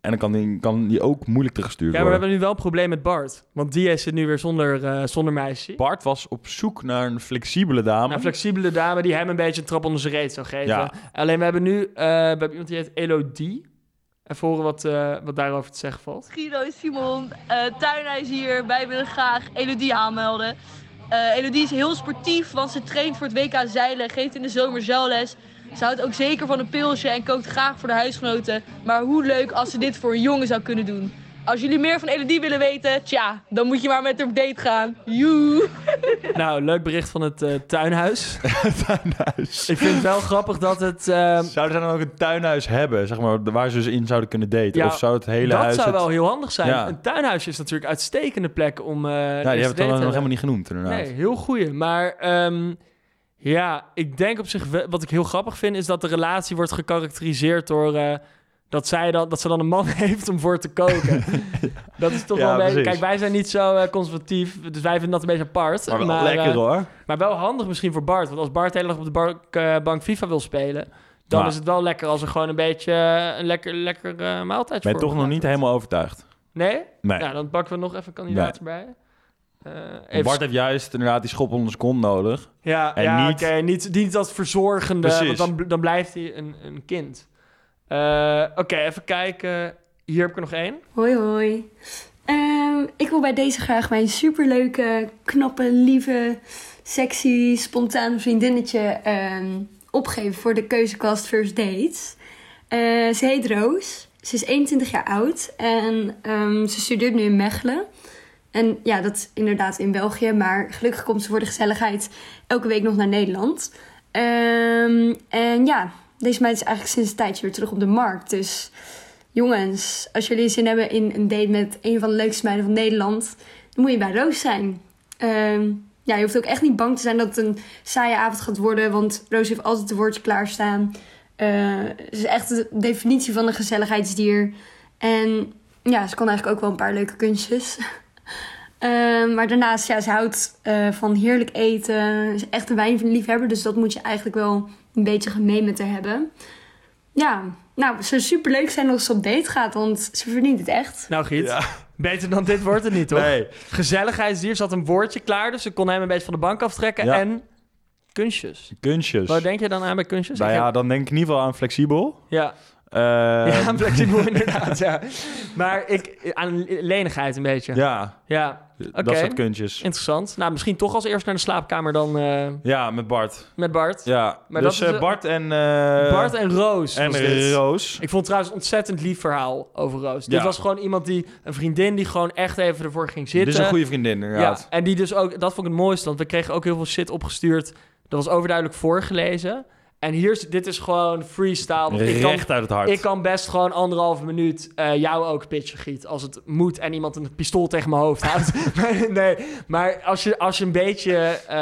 Speaker 2: en dan kan die, kan die ook moeilijk teruggestuurd
Speaker 1: Ja, maar we
Speaker 2: worden.
Speaker 1: hebben nu wel een probleem met Bart. Want die zit nu weer zonder, eh, zonder meisje.
Speaker 2: Bart was op zoek naar een flexibele dame.
Speaker 1: Een flexibele dame die hem een beetje een trap onder zijn reet zou geven.
Speaker 2: Ja.
Speaker 1: Alleen we hebben nu eh, we hebben iemand die heet Elodie. Even horen wat, eh, wat daarover te zeggen valt.
Speaker 6: Guido is Simon, eh tuinhuis hier. Wij willen graag Elodie aanmelden. Eh, Elodie is heel sportief, want ze traint voor het WK zeilen, geeft in de zomer zeilles. Ze houdt ook zeker van een pilsje en kookt graag voor de huisgenoten. Maar hoe leuk als ze dit voor een jongen zou kunnen doen. Als jullie meer van Elodie willen weten, tja, dan moet je maar met haar op date gaan. Joe.
Speaker 1: Nou, leuk bericht van het eh, tuinhuis.
Speaker 2: tuinhuis.
Speaker 1: Ik vind het wel grappig dat het... eh,
Speaker 2: Zouden zij dan ook een tuinhuis hebben, zeg maar, waar ze dus in zouden kunnen daten?
Speaker 1: Ja,
Speaker 2: of zou het hele
Speaker 1: dat
Speaker 2: huis...
Speaker 1: zou
Speaker 2: het- Nou,
Speaker 1: wel heel handig zijn.
Speaker 2: Ja.
Speaker 1: Een tuinhuis is natuurlijk een uitstekende plek om... eh
Speaker 2: Ja, die
Speaker 1: eerste
Speaker 2: hebben het dan nog
Speaker 1: date te
Speaker 2: helemaal niet genoemd, inderdaad.
Speaker 1: Nee, heel goeie. Maar ehm, ja, ik denk op zich... wel- Wat ik heel grappig vind, is dat de relatie wordt gekarakteriseerd door... eh, dat, zij dan, dat ze dan een man heeft om voor te koken. Dat is toch
Speaker 2: Ja,
Speaker 1: wel een beetje...
Speaker 2: precies.
Speaker 1: Kijk, wij zijn niet zo eh, conservatief. Dus wij vinden dat een beetje apart.
Speaker 2: Maar wel
Speaker 1: eh,
Speaker 2: lekker, hoor.
Speaker 1: Maar wel handig misschien voor Bart. Want als Bart de hele dag op de bank, eh, bank FIFA wil spelen... dan
Speaker 2: Maar-
Speaker 1: is het wel lekker als er gewoon een beetje eh, een lekker, lekker eh maaltijd
Speaker 2: Ben je
Speaker 1: voor
Speaker 2: toch nog
Speaker 1: gemaakt
Speaker 2: niet
Speaker 1: wordt.
Speaker 2: helemaal overtuigd?
Speaker 1: Nee?
Speaker 2: Nee.
Speaker 1: Ja, dan pakken we nog even een kandidaat erbij. Eh, even-
Speaker 2: Bart heeft juist inderdaad die schop onder zijn kont nodig.
Speaker 1: Ja,
Speaker 2: en
Speaker 1: ja
Speaker 2: niet-
Speaker 1: oké. Niet, niet dat verzorgende,
Speaker 2: Precies.
Speaker 1: want dan, bl- dan blijft hij een, een kind. Eh, oké, even kijken. Hier heb ik er nog één.
Speaker 7: Hoi hoi. Ehm, ik wil bij deze graag mijn superleuke, knappe, lieve, sexy, spontane vriendinnetje ehm, opgeven voor de keuzekast First Dates. Eh, ze heet Roos. Ze is 21 jaar oud en ehm, ze studeert nu in Mechelen. En ja, dat is inderdaad in België, maar gelukkig komt ze voor de gezelligheid elke week nog naar Nederland. Ehm, en ja, deze meid is eigenlijk sinds een tijdje weer terug op de markt, dus... Jongens, als jullie zin hebben in een date met een van de leukste meiden van Nederland, dan moet je bij Roos zijn. Ehm, ja, je hoeft ook echt niet bang te zijn dat het een saaie avond gaat worden, want Roos heeft altijd een woordje klaarstaan. Eh, ze is echt de definitie van een gezelligheidsdier. En ja, ze kan eigenlijk ook wel een paar leuke kunstjes. Ehm, maar daarnaast, ja, ze houdt eh, van heerlijk eten. Ze is echt een wijnliefhebber, dus dat moet je eigenlijk wel een beetje gemeen met haar hebben. Ja, nou, ze super leuk zijn als ze op date gaat, want ze verdient het echt.
Speaker 1: Nou, Giet. Beter dan dit wordt het niet, toch?
Speaker 2: Nee.
Speaker 1: Gezelligheidsdier zat een woordje klaar, dus ze kon hem een beetje van de bank aftrekken.
Speaker 2: Ja. Dus
Speaker 1: En kunstjes.
Speaker 2: Kunstjes.
Speaker 1: Wat denk je dan aan bij kunstjes?
Speaker 2: nou
Speaker 1: Ik
Speaker 2: ja,
Speaker 1: heb-
Speaker 2: dan denk ik in ieder geval aan flexibel.
Speaker 1: ja.
Speaker 2: Eh,
Speaker 1: ja, flexibel inderdaad, ja. Maar ik, aan lenigheid een beetje. Ja,
Speaker 2: ja, dat soort kunstjes.
Speaker 1: interessant. Nou, misschien toch als eerst naar de slaapkamer dan eh,
Speaker 2: Ja, met Bart.
Speaker 1: met Bart.
Speaker 2: Ja,
Speaker 1: Maar
Speaker 2: dus
Speaker 1: dat is
Speaker 2: eh,
Speaker 1: de-
Speaker 2: Bart en... eh,
Speaker 1: Bart en Roos.
Speaker 2: en
Speaker 1: was dit.
Speaker 2: Roos.
Speaker 1: Ik vond het trouwens een ontzettend lief verhaal over Roos. Dit
Speaker 2: Ja.
Speaker 1: was gewoon iemand die, een vriendin die gewoon echt even ervoor ging
Speaker 2: Dit
Speaker 1: zitten.
Speaker 2: is een goede vriendin, inderdaad.
Speaker 1: Ja, en die dus ook, dat vond ik het mooiste, want we kregen ook heel veel shit opgestuurd. Dat was overduidelijk voorgelezen. En hier, is- dit is gewoon freestyle. want Ik kan,
Speaker 2: Recht uit het hart.
Speaker 1: ik kan best gewoon anderhalve minuut eh, jou ook pitchen, Giet. Als het moet en iemand een pistool tegen mijn hoofd houdt. Maar nee, maar als je, als je een beetje eh,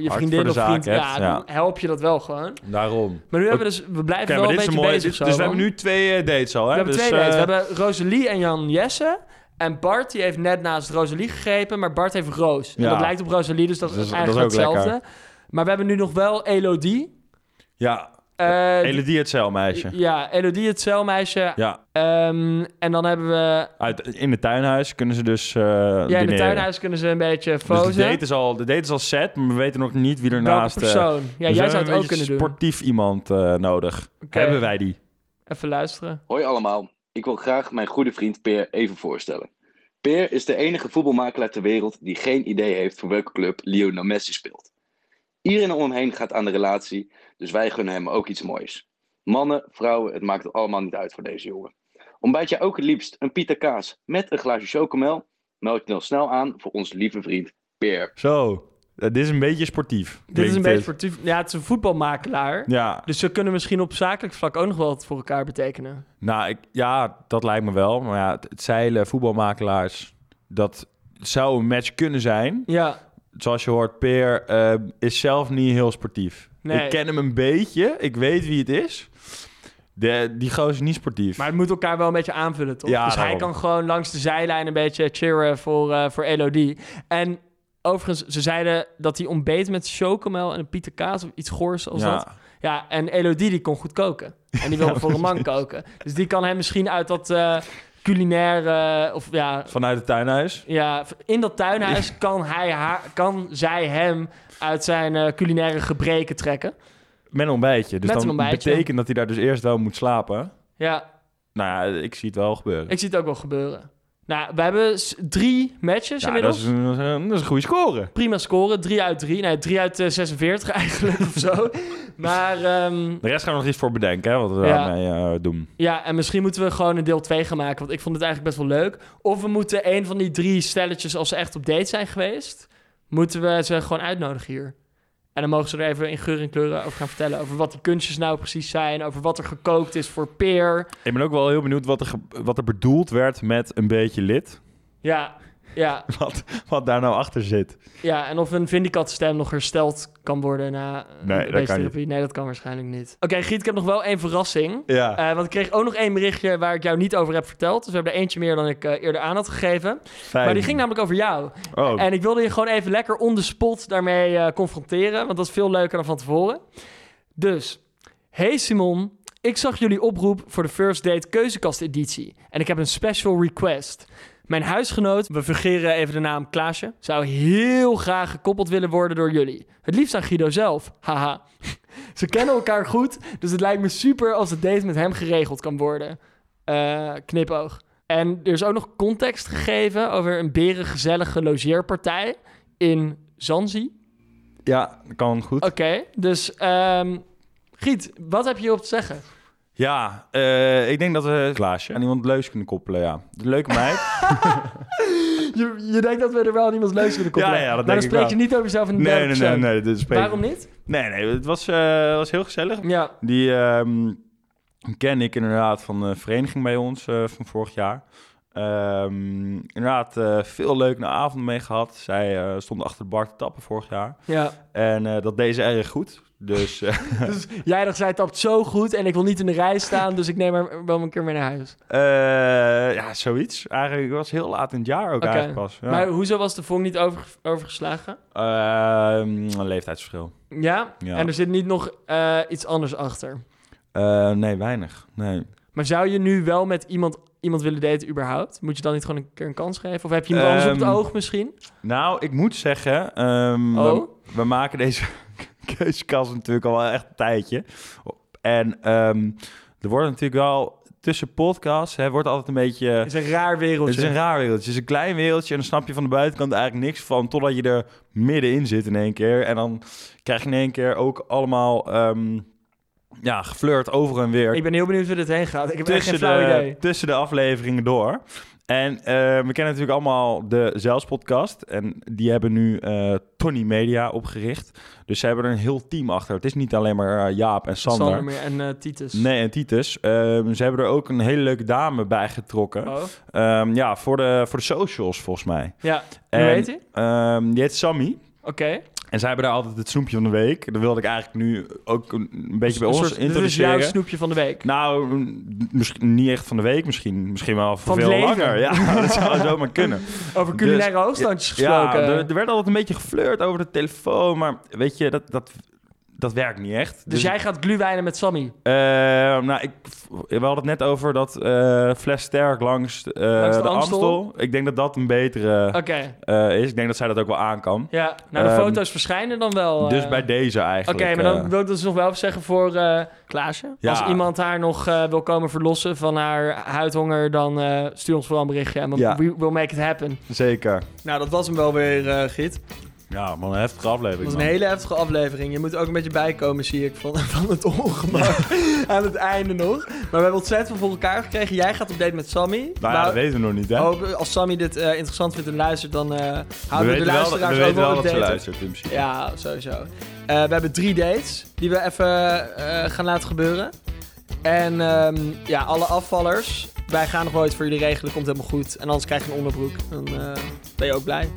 Speaker 1: je
Speaker 2: voor
Speaker 1: vriendin
Speaker 2: de
Speaker 1: of
Speaker 2: zaak
Speaker 1: vriend...
Speaker 2: hebt,
Speaker 1: Ja,
Speaker 2: ja.
Speaker 1: dan help je dat wel gewoon.
Speaker 2: Daarom. Oké,
Speaker 1: Maar nu hebben we dus... We blijven
Speaker 2: maar
Speaker 1: wel een
Speaker 2: dit is
Speaker 1: beetje
Speaker 2: een mooie...
Speaker 1: bezig
Speaker 2: dit-
Speaker 1: zo,
Speaker 2: dus we
Speaker 1: man.
Speaker 2: hebben nu twee eh, dates al, hè?
Speaker 1: We hebben
Speaker 2: dus,
Speaker 1: twee dates.
Speaker 2: eh,
Speaker 1: We hebben Rosalie en Jan Jesse. En Bart, die heeft net naast Rosalie gegrepen, maar Bart heeft Roos. En
Speaker 2: Ja.
Speaker 1: dat lijkt op Rosalie, dus dat,
Speaker 2: Dat
Speaker 1: is
Speaker 2: is-
Speaker 1: eigenlijk
Speaker 2: dat is ook
Speaker 1: hetzelfde. Maar we hebben nu nog wel Elodie.
Speaker 2: Ja,
Speaker 1: Eh,
Speaker 2: Elodie het celmeisje.
Speaker 1: Ja, Elodie, het celmeisje.
Speaker 2: Ja,
Speaker 1: Ehm, en dan hebben we...
Speaker 2: uit, in het tuinhuis kunnen ze dus eh
Speaker 1: Ja, in
Speaker 2: dineren.
Speaker 1: het tuinhuis kunnen ze een beetje
Speaker 2: Dus de
Speaker 1: fozen.
Speaker 2: date, is al, de date is al set, maar we weten nog niet wie
Speaker 1: Welke
Speaker 2: ernaast... eh,
Speaker 1: persoon? Ja,
Speaker 2: dus we
Speaker 1: jij
Speaker 2: hebben
Speaker 1: zou het
Speaker 2: een
Speaker 1: ook
Speaker 2: beetje
Speaker 1: kunnen doen.
Speaker 2: sportief iemand eh, nodig.
Speaker 1: Oké,
Speaker 2: Hebben wij die?
Speaker 1: Even luisteren.
Speaker 8: Hoi allemaal, ik wil graag mijn goede vriend Peer even voorstellen. Peer is de enige voetbalmakelaar ter wereld die geen idee heeft voor welke club Lionel Messi speelt. Iedereen om hem heen gaat aan de relatie, dus wij gunnen hem ook iets moois. Mannen, vrouwen, het maakt allemaal niet uit voor deze jongen. Ontbijt jij ook het liefst een pita kaas met een glaasje chocomel? Meld je dan snel aan voor onze lieve vriend Peer.
Speaker 2: Zo, eh, dit is een beetje sportief.
Speaker 1: Dit is
Speaker 2: klinkt
Speaker 1: een beetje sportief. Ja, het is een voetbalmakelaar.
Speaker 2: Ja,
Speaker 1: Dus ze kunnen misschien op zakelijk vlak ook nog wel wat voor elkaar betekenen.
Speaker 2: nou, ik, ja, dat lijkt me wel. Maar ja, het, het zeilen, voetbalmakelaars, dat zou een match kunnen zijn.
Speaker 1: Ja.
Speaker 2: Zoals je hoort, Peer eh, is zelf niet heel sportief.
Speaker 1: Nee.
Speaker 2: Ik ken hem een beetje, ik weet wie het is. De, die gozer is niet sportief.
Speaker 1: Maar het moet elkaar wel een beetje aanvullen, toch?
Speaker 2: Ja,
Speaker 1: dus hij
Speaker 2: daarom.
Speaker 1: kan gewoon langs de zijlijn een beetje cheeren voor, eh, voor Elodie. En overigens, ze zeiden dat hij ontbeet met chocomel en een pita kaas of iets goors als
Speaker 2: ja.
Speaker 1: dat. Ja, en Elodie die kon goed koken. En die wilde voor een man koken. Dus die kan hem misschien uit dat eh, culinaire... eh, of ja,
Speaker 2: Vanuit het tuinhuis.
Speaker 1: ja, in dat tuinhuis kan, hij haar, kan zij hem uit zijn eh, culinaire gebreken trekken.
Speaker 2: Met een ontbijtje. Dus
Speaker 1: Met
Speaker 2: dan
Speaker 1: een ontbijtje.
Speaker 2: betekent dat hij daar dus eerst wel moet slapen.
Speaker 1: Ja,
Speaker 2: Nou ja, ik zie het wel gebeuren.
Speaker 1: ik zie het ook wel gebeuren. Nou, we hebben s- drie matches
Speaker 2: Ja, dat
Speaker 1: inmiddels.
Speaker 2: is, een, dat is een- dat is een goede score.
Speaker 1: Prima scoren. 3 uit 3. Nee, 3 uit eh, 46 eigenlijk of zo. Maar ehm,
Speaker 2: De rest gaan we nog iets voor bedenken, hè, wat we
Speaker 1: Ja.
Speaker 2: daarmee eh, doen.
Speaker 1: ja, en misschien moeten we gewoon een deel 2 gaan maken. Want ik vond het eigenlijk best wel leuk. Of we moeten een van die drie stelletjes, als ze echt op date zijn geweest, moeten we ze gewoon uitnodigen hier. En dan mogen ze er even in geur en kleuren over gaan vertellen. Over wat die kunstjes nou precies zijn. Over wat er gekookt is voor peer.
Speaker 2: Ik ben ook wel heel benieuwd wat er, ge- wat er bedoeld werd met een beetje lid.
Speaker 1: Ja, ja,
Speaker 2: Wat, wat daar nou achter zit.
Speaker 1: Ja, en of een Vindicat-stem nog hersteld kan worden na eh,
Speaker 2: Nee, dat kan
Speaker 1: beesttherapie. Nee, dat kan waarschijnlijk niet. Oké, Giet, ik heb nog wel één verrassing.
Speaker 2: Ja.
Speaker 1: Eh, want ik kreeg ook nog één berichtje waar ik jou niet over heb verteld. Dus we hebben er eentje meer dan ik eh, eerder aan had gegeven.
Speaker 2: Fijn.
Speaker 1: Eh, Maar die ging namelijk over jou.
Speaker 2: Oh,
Speaker 1: En ik wilde je gewoon even lekker on the spot daarmee eh, confronteren. Want dat is veel leuker dan van tevoren. Dus, hey Simon. Ik zag jullie oproep voor de First Date Keuzekast editie. En ik heb een special request. Mijn huisgenoot, we vergeren even de naam Klaasje, zou heel graag gekoppeld willen worden door jullie. Het liefst aan Guido zelf. Haha. Ze kennen elkaar goed, dus het lijkt me super als het date met hem geregeld kan worden. Eh, knipoog. En er is ook nog context gegeven over een berengezellige logeerpartij in Zanzi.
Speaker 2: ja, kan goed.
Speaker 1: Oké, dus ehm, Giet, wat heb je hierop te zeggen?
Speaker 2: Ja, eh, ik denk dat we Klaasje aan iemand leuks kunnen koppelen, ja. Leuke meid.
Speaker 1: Je, je denkt dat we er wel aan iemand leuks kunnen koppelen.
Speaker 2: Ja, ja,
Speaker 1: maar
Speaker 2: dat
Speaker 1: dan
Speaker 2: denk ik
Speaker 1: spreek
Speaker 2: wel.
Speaker 1: je niet over jezelf in de
Speaker 2: nee,
Speaker 1: derde
Speaker 2: nee, nee,
Speaker 1: persoon.
Speaker 2: nee. Dit spreekt-
Speaker 1: Waarom niet?
Speaker 2: Nee, nee, het was, eh, was heel gezellig.
Speaker 1: Ja,
Speaker 2: Die ehm, ken ik inderdaad van de vereniging bij ons eh, van vorig jaar. Ehm, inderdaad, eh, veel leuke avonden mee gehad. Zij eh, stond achter de bar te tappen vorig jaar.
Speaker 1: ja.
Speaker 2: En eh, dat deed ze erg goed. Dus eh,
Speaker 1: Dus jij dacht, zij tapt zo goed en ik wil niet in de rij staan, dus ik neem haar wel een keer mee naar huis.
Speaker 2: eh, ja, zoiets. Eigenlijk ik was heel laat in het jaar ook
Speaker 1: Oké.
Speaker 2: eigenlijk pas. Ja.
Speaker 1: Maar hoezo was de vonk niet over, overgeslagen?
Speaker 2: Ehm, een leeftijdsverschil.
Speaker 1: Ja?
Speaker 2: Ja.
Speaker 1: En er zit niet nog eh, iets anders achter.
Speaker 2: Eh, nee, weinig. Nee.
Speaker 1: Maar zou je nu wel met iemand, iemand willen daten überhaupt? Moet je dan niet gewoon een keer een kans geven? Of heb je iemand anders op het
Speaker 2: Ehm,
Speaker 1: oog misschien?
Speaker 2: Nou, ik moet zeggen, ehm, we-
Speaker 1: Oh?
Speaker 2: we, maken deze keuzekast natuurlijk al wel echt een tijdje. En ehm, er wordt natuurlijk wel tussen podcasts, hè, wordt altijd een beetje...
Speaker 1: Het is een raar wereldje.
Speaker 2: Het is een raar wereldje, het is een klein wereldje en dan snap je van de buitenkant eigenlijk niks van, totdat je er middenin zit in één keer. En dan krijg je in één keer ook allemaal ehm, ja, geflirt over en weer
Speaker 1: Ik ben heel benieuwd waar dit heen gaat. Ik heb echt geen
Speaker 2: tussen
Speaker 1: flauw
Speaker 2: de,
Speaker 1: idee.
Speaker 2: tussen de afleveringen door. En eh, we kennen natuurlijk allemaal de Zelfspodcast. En die hebben nu eh, Tony Media opgericht. Dus ze hebben er een heel team achter. Het is niet alleen maar eh, Jaap en Sander.
Speaker 1: Sander meer en eh, Titus.
Speaker 2: Nee, en Titus. Ehm, ze hebben er ook een hele leuke dame bij getrokken.
Speaker 1: Oh.
Speaker 2: Ehm, ja, voor de, voor de socials volgens mij.
Speaker 1: Ja, hoe
Speaker 2: En,
Speaker 1: heet hij?
Speaker 2: ehm, die heet Sammy.
Speaker 1: Oké.
Speaker 2: En zij hebben daar altijd het snoepje van de week. Dat wilde ik eigenlijk nu ook een een beetje bij
Speaker 1: Een
Speaker 2: ons
Speaker 1: soort- dit is
Speaker 2: introduceren.
Speaker 1: jouw snoepje van de week.
Speaker 2: Nou, m- misschien niet echt van de week, misschien, misschien wel voor
Speaker 1: Van het
Speaker 2: veel
Speaker 1: leven.
Speaker 2: langer. Ja, dat zou zomaar kunnen.
Speaker 1: Over culinaire
Speaker 2: dus-
Speaker 1: hoogstandjes
Speaker 2: Ja,
Speaker 1: gesproken.
Speaker 2: er, er werd altijd een beetje geflirt over de telefoon, maar weet je, dat, dat, dat werkt niet echt.
Speaker 1: dus jij gaat gluwijnen met Sammy.
Speaker 2: eh, nou, ik, we hadden het net over dat eh fles sterk langs, eh,
Speaker 1: de
Speaker 2: de,
Speaker 1: Amstel.
Speaker 2: Amstel. Ik denk dat dat een betere
Speaker 1: Oké.
Speaker 2: eh, is. Ik denk dat zij dat ook wel aan kan.
Speaker 1: Ja, nou de
Speaker 2: Ehm,
Speaker 1: foto's verschijnen dan wel. eh.
Speaker 2: Dus bij deze
Speaker 1: Oké,
Speaker 2: eigenlijk.
Speaker 1: maar
Speaker 2: eh,
Speaker 1: dan wil ik dus nog wel even zeggen voor eh Klaasje.
Speaker 2: Ja.
Speaker 1: Als iemand haar nog eh, wil komen verlossen van haar huidhonger, dan eh, stuur ons vooral een berichtje. En we
Speaker 2: Ja.
Speaker 1: we will make it happen.
Speaker 2: Zeker.
Speaker 1: Nou, dat was hem wel weer, eh, Git.
Speaker 2: Ja, man, een heftige
Speaker 1: Het
Speaker 2: aflevering.
Speaker 1: was
Speaker 2: man.
Speaker 1: een hele heftige aflevering. Je moet ook een beetje bijkomen, zie ik, van, van het ongemak aan het einde nog. Maar we hebben ontzettend veel voor elkaar gekregen. Jij gaat op date met Sammy.
Speaker 2: Nou ja,
Speaker 1: Maar
Speaker 2: dat weten we nog niet, hè?
Speaker 1: hopen- als Sammy dit eh, interessant vindt en luistert, dan eh,
Speaker 2: we
Speaker 1: houden we,
Speaker 2: weten
Speaker 1: de
Speaker 2: wel, dat-
Speaker 1: luisteraars
Speaker 2: we
Speaker 1: ook
Speaker 2: weten
Speaker 1: wel
Speaker 2: wel dat
Speaker 1: updated.
Speaker 2: ze luistert in principe.
Speaker 1: Ja, sowieso. Eh, we hebben drie dates die we even eh, gaan laten gebeuren. En ehm, ja, alle afvallers. Wij gaan nog wel iets voor jullie regelen, komt helemaal goed. En anders krijg je een onderbroek. Dan eh, ben je ook blij.